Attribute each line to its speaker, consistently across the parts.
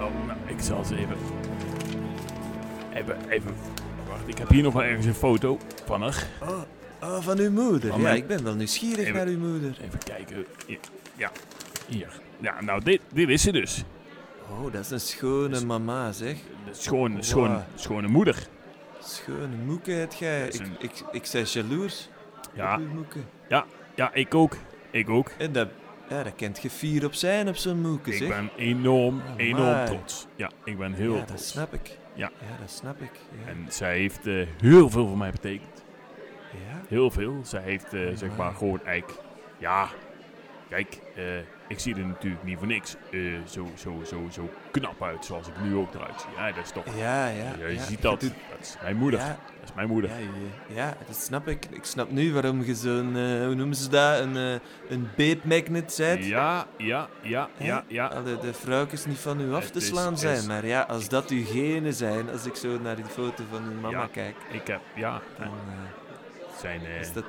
Speaker 1: Oh, nou, Ik zal ze even. Even, even. Wacht, ik heb hier nog wel ergens een foto van haar.
Speaker 2: Oh, oh, van uw moeder.
Speaker 1: Van
Speaker 2: ja,
Speaker 1: mijn-
Speaker 2: ik ben wel nieuwsgierig
Speaker 1: Even-
Speaker 2: naar uw moeder.
Speaker 1: Even kijken. Ja, Ja, hier. Ja, nou, dit, dit is ze dus.
Speaker 2: Oh, dat is een schone mama, zeg.
Speaker 1: De schoon, schoon, schone moeder.
Speaker 2: Schone moeke het jij.
Speaker 1: Dat is
Speaker 2: Ik,
Speaker 1: een-
Speaker 2: ik, ik zei jaloers op
Speaker 1: Ja,
Speaker 2: uw moeke.
Speaker 1: ja, ik ook. Ik ook.
Speaker 2: En dat, ja, dat kent je fier op zijn op zo'n moeke, zeg.
Speaker 1: Ik ben enorm,
Speaker 2: Amai.
Speaker 1: enorm trots. Ja, ik ben heel
Speaker 2: ja, dat
Speaker 1: trots.
Speaker 2: snap ik.
Speaker 1: Ja.
Speaker 2: dat snap ik. Ja.
Speaker 1: En zij heeft eh, heel veel voor mij betekend.
Speaker 2: ja?
Speaker 1: Heel veel. Zij heeft, eh, zeg maar,
Speaker 2: Amai.
Speaker 1: gewoon eigenlijk... Ja, kijk, eh, ik zie er natuurlijk niet voor niks eh, zo, zo, zo, zo knap uit zoals ik nu ook eruit zie. Ja, dat is toch...
Speaker 2: Ja, ja.
Speaker 1: je
Speaker 2: ja,
Speaker 1: ziet
Speaker 2: je
Speaker 1: dat.
Speaker 2: doet-
Speaker 1: Dat is mijn moeder.
Speaker 2: Ja,
Speaker 1: Dat is mijn moeder.
Speaker 2: ja, je- ja, dat snap ik. Ik snap nu waarom je zo'n, eh, hoe noemen ze dat, een, eh, een beepmagnet bent.
Speaker 1: Ja, ja, ja,
Speaker 2: Hè?
Speaker 1: ja, ja.
Speaker 2: Al De, de vrouwtjes niet van u af
Speaker 1: Het
Speaker 2: te
Speaker 1: is-
Speaker 2: slaan
Speaker 1: is-
Speaker 2: zijn. Maar ja, als dat uw genen zijn, als ik zo naar die foto van uw mama
Speaker 1: Ja.
Speaker 2: kijk,
Speaker 1: Ik heb, ja,
Speaker 2: dan eh,
Speaker 1: het zijn
Speaker 2: is
Speaker 1: eh
Speaker 2: dat,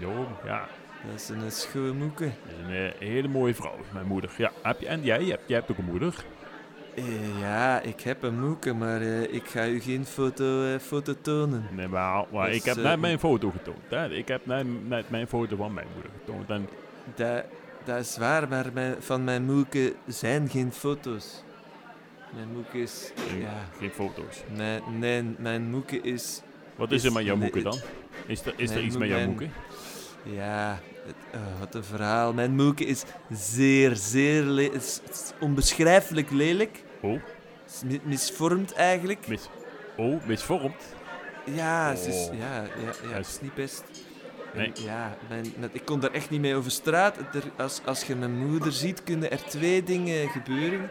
Speaker 1: enorm. Ja,
Speaker 2: dat is een schone moeke.
Speaker 1: het is een eh, hele mooie vrouw, is mijn moeder. Ja, heb je, en jij, Je hebt- jij hebt ook een moeder.
Speaker 2: Eh, ja, ik heb een moeke, maar eh, ik ga u geen foto, eh, foto tonen.
Speaker 1: Nee, maar, maar
Speaker 2: Dus,
Speaker 1: ik heb
Speaker 2: eh,
Speaker 1: net mijn foto getoond. Hè. Ik heb net, net mijn foto van mijn moeder getoond. En
Speaker 2: Dat, dat is waar, maar mijn, van mijn moeke zijn geen foto's. Mijn moeke is...
Speaker 1: geen,
Speaker 2: Ja,
Speaker 1: geen foto's.
Speaker 2: nee, nee, mijn moeke is...
Speaker 1: Wat is
Speaker 2: Is-
Speaker 1: er met jouw
Speaker 2: nee,
Speaker 1: moeke dan?
Speaker 2: het-
Speaker 1: Is er, is
Speaker 2: nee,
Speaker 1: er iets
Speaker 2: moet
Speaker 1: met jouw
Speaker 2: mijn-
Speaker 1: moeke?
Speaker 2: Ja, het- oh, wat een verhaal. Mijn moeke is zeer, zeer... le- is, is onbeschrijfelijk lelijk.
Speaker 1: Oh,
Speaker 2: Is mi- misvormd eigenlijk.
Speaker 1: mis, oh misvormd.
Speaker 2: Ja, ze is,
Speaker 1: Oh.
Speaker 2: ja, ja, ja,
Speaker 1: Juist.
Speaker 2: het is niet best. En
Speaker 1: Nee.
Speaker 2: Ja, mijn, met- ik kon daar echt niet mee over straat. Het er- als, als je mijn moeder ziet, kunnen er twee dingen gebeuren.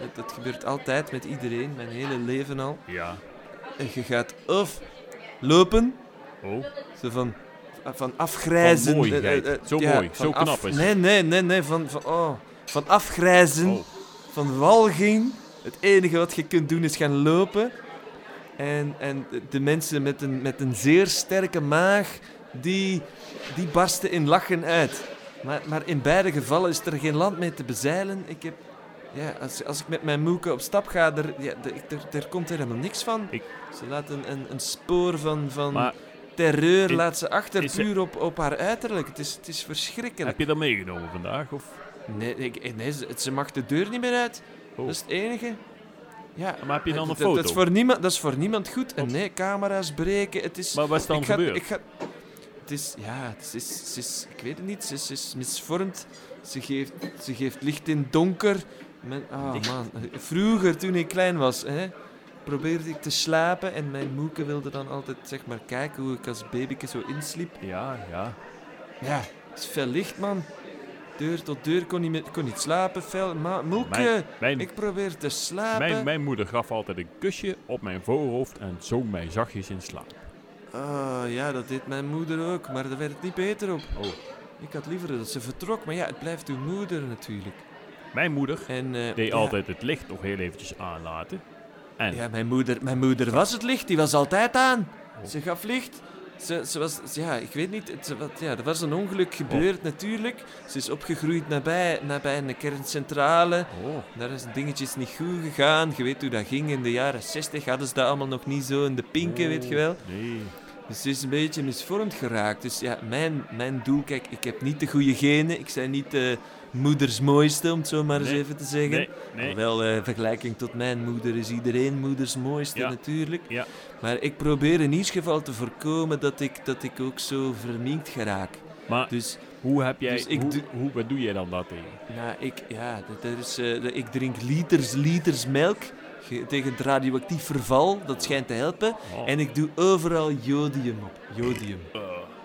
Speaker 2: Dat, dat gebeurt altijd met iedereen, mijn hele leven al.
Speaker 1: Ja.
Speaker 2: En je gaat of lopen,
Speaker 1: Oh,
Speaker 2: zo van, van afgrijzen.
Speaker 1: Van
Speaker 2: eh, eh, eh,
Speaker 1: mooiheid. Zo mooi,
Speaker 2: van
Speaker 1: zo knap is het.
Speaker 2: Nee, nee, nee, nee, van, van, oh, van afgrijzen
Speaker 1: oh.
Speaker 2: van walging. Het enige wat je kunt doen is gaan lopen. En, en de mensen met een, met een zeer sterke maag, die, die barsten in lachen uit. Maar, maar in beide gevallen is er geen land mee te bezeilen. Ik heb, ja, als, als ik met mijn moeke op stap ga, daar, ja, daar, ik- daar- daar komt helemaal niks van.
Speaker 1: Ik-
Speaker 2: Ze laat een, een, een spoor van, van
Speaker 1: Maar
Speaker 2: terreur
Speaker 1: i-
Speaker 2: laat ze achter,
Speaker 1: is ze-
Speaker 2: puur op, op haar uiterlijk. Het is, het is verschrikkelijk.
Speaker 1: heb je dat meegenomen vandaag? Of?
Speaker 2: Nee, ik- eh, nee, ze, ze mag de deur niet meer uit.
Speaker 1: Oh.
Speaker 2: Dat is het enige. Ja.
Speaker 1: Maar heb je dan een
Speaker 2: dat- dat-
Speaker 1: foto?
Speaker 2: Dat is voor niemand, dat is voor niemand goed. En
Speaker 1: Oh.
Speaker 2: nee, camera's breken. Het is.
Speaker 1: Maar wat is dan
Speaker 2: ik ga,
Speaker 1: gebeurd?
Speaker 2: ik ga, het is. Ja, het is, is, ze is- Ik weet het niet. Ze is, ze is misvormd. Ze geeft, ze geeft licht in donker. Mijn, oh
Speaker 1: Licht.
Speaker 2: man. Vroeger, toen ik klein was, hè, probeerde ik te slapen. En mijn moeke wilde dan altijd zeg maar, kijken hoe ik als babyke zo insliep.
Speaker 1: Ja, ja.
Speaker 2: Ja, het is fel licht, man. Deur tot deur kon niet, meer- kon niet slapen. Fel, ma, moeke.
Speaker 1: Mijn, mijn,
Speaker 2: Ik eh, probeer te slapen.
Speaker 1: mijn, mijn moeder gaf altijd een kusje op mijn voorhoofd en zong mij zachtjes in slaap.
Speaker 2: Oh, ja, dat deed mijn moeder ook, maar daar werd het niet beter op.
Speaker 1: Oh.
Speaker 2: Ik had liever dat ze vertrok, maar ja, het blijft uw moeder natuurlijk.
Speaker 1: Mijn moeder
Speaker 2: En, eh,
Speaker 1: deed
Speaker 2: ja,
Speaker 1: altijd het licht nog heel eventjes aanlaten. En
Speaker 2: Ja, mijn moeder, mijn moeder was het licht, die was altijd aan.
Speaker 1: Oh.
Speaker 2: Ze gaf licht. Ze, ze was, ze- ja, ik weet niet, het- ze, wat, ja, er was een ongeluk gebeurd natuurlijk. Ze is opgegroeid nabij, nabij een kerncentrale.
Speaker 1: oh,
Speaker 2: Daar is dingetjes niet goed gegaan. Je weet hoe dat ging in de jaren 60. Hadden ze dat allemaal nog niet zo in de pinken, weet je wel.
Speaker 1: Oh. nee.
Speaker 2: Dus ze is een beetje misvormd geraakt. Dus ja, mijn, mijn doel, kijk, ik heb niet de goede genen. Ik ben niet de moeders mooiste, om het zo maar
Speaker 1: Nee,
Speaker 2: eens even te zeggen.
Speaker 1: Nee, nee.
Speaker 2: Wel, eh, vergelijking tot mijn moeder is iedereen moeders mooiste
Speaker 1: Ja,
Speaker 2: natuurlijk.
Speaker 1: ja.
Speaker 2: Maar ik probeer in ieder geval te voorkomen dat ik, dat ik ook zo verminkt geraak.
Speaker 1: Maar
Speaker 2: Dus
Speaker 1: hoe heb jij,
Speaker 2: dus ik
Speaker 1: hoe,
Speaker 2: doe-
Speaker 1: hoe, wat doe jij dan dat tegen?
Speaker 2: nou, ik, ja, dat- dat is, eh, dat- ik drink liters, liters melk ge- tegen het radioactief verval. Dat schijnt te helpen.
Speaker 1: Oh,
Speaker 2: En ik doe overal jodium op. Jodium.
Speaker 1: eh,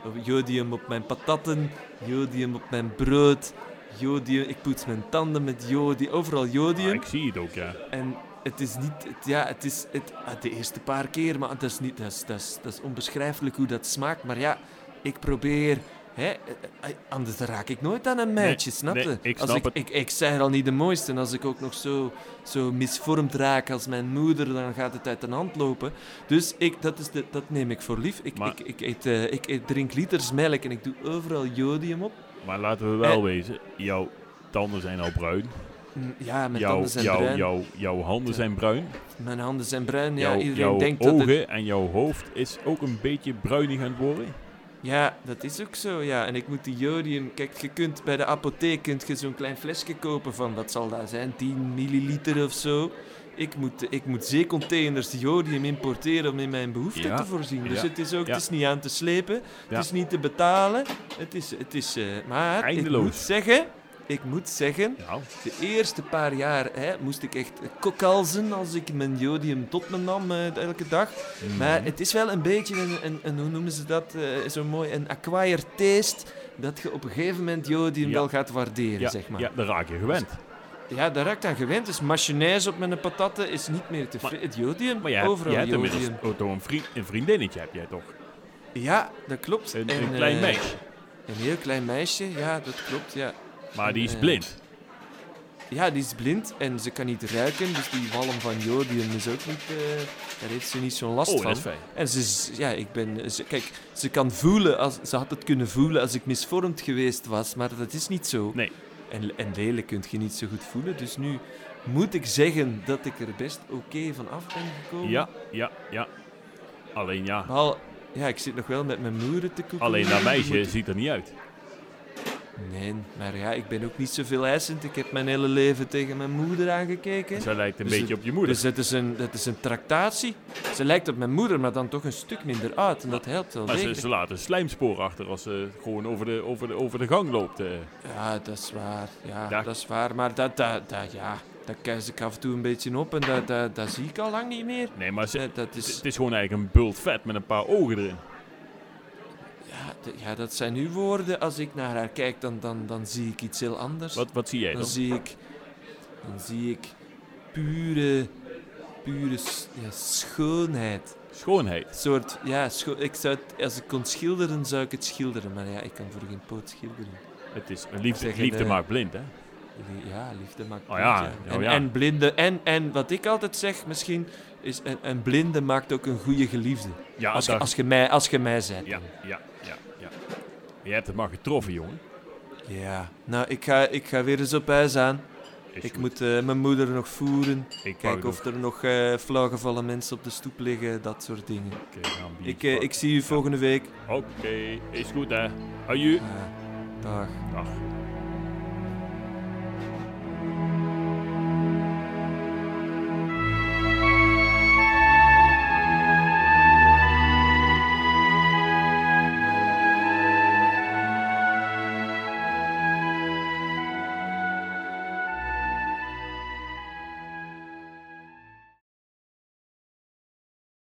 Speaker 2: Op- Jodium op mijn patatten, jodium op mijn brood, jodium. Ik poets mijn tanden met jodium, overal
Speaker 1: ah,
Speaker 2: jodium.
Speaker 1: ik zie het ook, ja.
Speaker 2: En het is niet, het, ja, het is het, ah, de eerste paar keer, maar dat is, niet, dat, is, dat, is, dat is onbeschrijfelijk hoe dat smaakt. Maar ja, ik probeer. Hè, eh, eh, anders raak ik nooit aan een meisje, snap
Speaker 1: nee,
Speaker 2: je?
Speaker 1: ik
Speaker 2: als
Speaker 1: snap
Speaker 2: ik,
Speaker 1: het.
Speaker 2: Ik, ik zijn er al niet de mooiste. En als ik ook nog zo, zo misvormd raak als mijn moeder, dan gaat het uit de hand lopen. Dus ik, dat, is de, dat neem ik voor lief. Ik,
Speaker 1: Maar-
Speaker 2: ik, ik, eet, eh, ik, eet- drink liters melk en ik doe overal jodium op.
Speaker 1: Maar laten we wel
Speaker 2: Eh.
Speaker 1: wezen, jouw tanden zijn al bruin.
Speaker 2: Mm, Ja, mijn
Speaker 1: jouw,
Speaker 2: tanden zijn
Speaker 1: jouw,
Speaker 2: bruin.
Speaker 1: jouw, jouw handen zijn bruin.
Speaker 2: Mijn handen zijn bruin. Ja,
Speaker 1: jouw
Speaker 2: iedereen
Speaker 1: jouw
Speaker 2: denkt
Speaker 1: ogen
Speaker 2: dat het...
Speaker 1: en jouw hoofd is ook een beetje bruinig aan het worden.
Speaker 2: Ja, dat is ook zo, ja. En ik moet die jodium... Kijk, je kunt bij de apotheek kunt je zo'n klein flesje kopen van... Wat zal dat zijn? 10 milliliter of zo. Ik moet, ik moet zeecontainers jodium importeren om in mijn behoeften
Speaker 1: Ja,
Speaker 2: te voorzien. Dus
Speaker 1: ja,
Speaker 2: het is ook...
Speaker 1: ja.
Speaker 2: Het is niet aan te slepen.
Speaker 1: Ja.
Speaker 2: Het is niet te betalen. Het is... Het is eh, maar
Speaker 1: Eindeloos.
Speaker 2: ik moet zeggen... Ik moet zeggen...
Speaker 1: Nou,
Speaker 2: De eerste paar jaar hè, moest ik echt kokhalzen als ik mijn jodium tot me nam eh, elke dag.
Speaker 1: mm.
Speaker 2: Maar het is wel een beetje een, een, een- hoe noemen ze dat eh, zo mooi, een acquired taste. Dat je op een gegeven moment jodium
Speaker 1: Ja.
Speaker 2: wel gaat waarderen,
Speaker 1: ja,
Speaker 2: zeg maar.
Speaker 1: ja,
Speaker 2: Ja.
Speaker 1: daar raak je gewend.
Speaker 2: daar raak ik aan gewend. Dus mayonaise op mijn patatten is niet meer te
Speaker 1: Maar-
Speaker 2: Het jodium,
Speaker 1: Maar jij hebt,
Speaker 2: overal
Speaker 1: jij hebt
Speaker 2: jodium.
Speaker 1: inmiddels ook door een, vriend, een vriendinnetje, heb jij toch?
Speaker 2: Ja, dat klopt.
Speaker 1: Een,
Speaker 2: En,
Speaker 1: een klein
Speaker 2: eh,
Speaker 1: meisje.
Speaker 2: Een heel klein meisje, ja, dat klopt, ja.
Speaker 1: Maar die is
Speaker 2: eh,
Speaker 1: blind.
Speaker 2: Ja, die is blind en ze kan niet ruiken, dus die walm van jodium is ook niet... eh, daar heeft ze niet zo'n last
Speaker 1: Oh,
Speaker 2: van.
Speaker 1: dat is fijn.
Speaker 2: En ze, is- ja, ik ben, ze- kijk, ze kan voelen, als, ze had het kunnen voelen als ik misvormd geweest was, maar dat is niet zo.
Speaker 1: Nee.
Speaker 2: En, en lelijk kun je niet zo goed voelen, dus nu moet ik zeggen dat ik er best oké van af ben gekomen.
Speaker 1: Ja, ja, ja. Alleen ja,
Speaker 2: Behal- ja, ik zit nog wel met mijn moeder te koeken.
Speaker 1: alleen dat meisje
Speaker 2: Moet-
Speaker 1: ziet er niet uit.
Speaker 2: Nee, maar ja, ik ben ook niet zoveel eisend. Ik heb mijn hele leven tegen mijn moeder aangekeken.
Speaker 1: Zij lijkt een
Speaker 2: Dus
Speaker 1: beetje
Speaker 2: het-
Speaker 1: op je moeder.
Speaker 2: Dus dat is, een, dat is een tractatie. Ze lijkt op mijn moeder, maar dan toch een stuk minder oud. En dat helpt wel
Speaker 1: Maar ze,
Speaker 2: degelijk.
Speaker 1: ze laat een slijmspoor achter als ze gewoon over de, over de, over de gang loopt. eh.
Speaker 2: Ja, dat is waar. Ja,
Speaker 1: Daar-
Speaker 2: dat is waar. Maar dat, dat, dat ja, daar kijk ik af en toe een beetje op en dat, dat, dat zie ik al lang niet meer.
Speaker 1: Nee, maar ze,
Speaker 2: Eh, dat
Speaker 1: het
Speaker 2: is,
Speaker 1: het is gewoon eigenlijk een bult vet met een paar ogen erin.
Speaker 2: ja, d- ja, dat zijn uw woorden. Als ik naar haar kijk, dan, dan, dan zie ik iets heel anders.
Speaker 1: Wat, wat zie jij
Speaker 2: Dan
Speaker 1: dan?
Speaker 2: zie ik, dan zie ik pure, pure s- ja, schoonheid.
Speaker 1: Schoonheid.
Speaker 2: Een soort, ja, scho- ik zou het, als ik kon schilderen, zou ik het schilderen. Maar ja, ik kan voor geen poot schilderen.
Speaker 1: Het is een liefde,
Speaker 2: Zeg je
Speaker 1: liefde
Speaker 2: de-
Speaker 1: maakt blind, hè?
Speaker 2: Li- Ja, liefde maakt
Speaker 1: Oh
Speaker 2: blind,
Speaker 1: ja, oh
Speaker 2: en,
Speaker 1: ja.
Speaker 2: en blinde. En, en wat ik altijd zeg misschien, is een, een blinde maakt ook een goede geliefde.
Speaker 1: Ja,
Speaker 2: Als je
Speaker 1: daar-
Speaker 2: als ge mij, als ge mij bent.
Speaker 1: ja, ja, ja, ja. Je hebt het maar getroffen, jongen.
Speaker 2: Ja. Nou, ik ga, ik ga weer eens op huis aan.
Speaker 1: Is
Speaker 2: ik
Speaker 1: goed.
Speaker 2: moet eh, mijn moeder nog voeren.
Speaker 1: ik pak
Speaker 2: Kijken of er nog eh flauwgevallen mensen op de stoep liggen. Dat soort dingen.
Speaker 1: nog een keer aan bier
Speaker 2: Ik, eh,
Speaker 1: pakken.
Speaker 2: ik zie u volgende week.
Speaker 1: Oké, is goed, hè? Adieu.
Speaker 2: Ah, dag.
Speaker 1: Dag.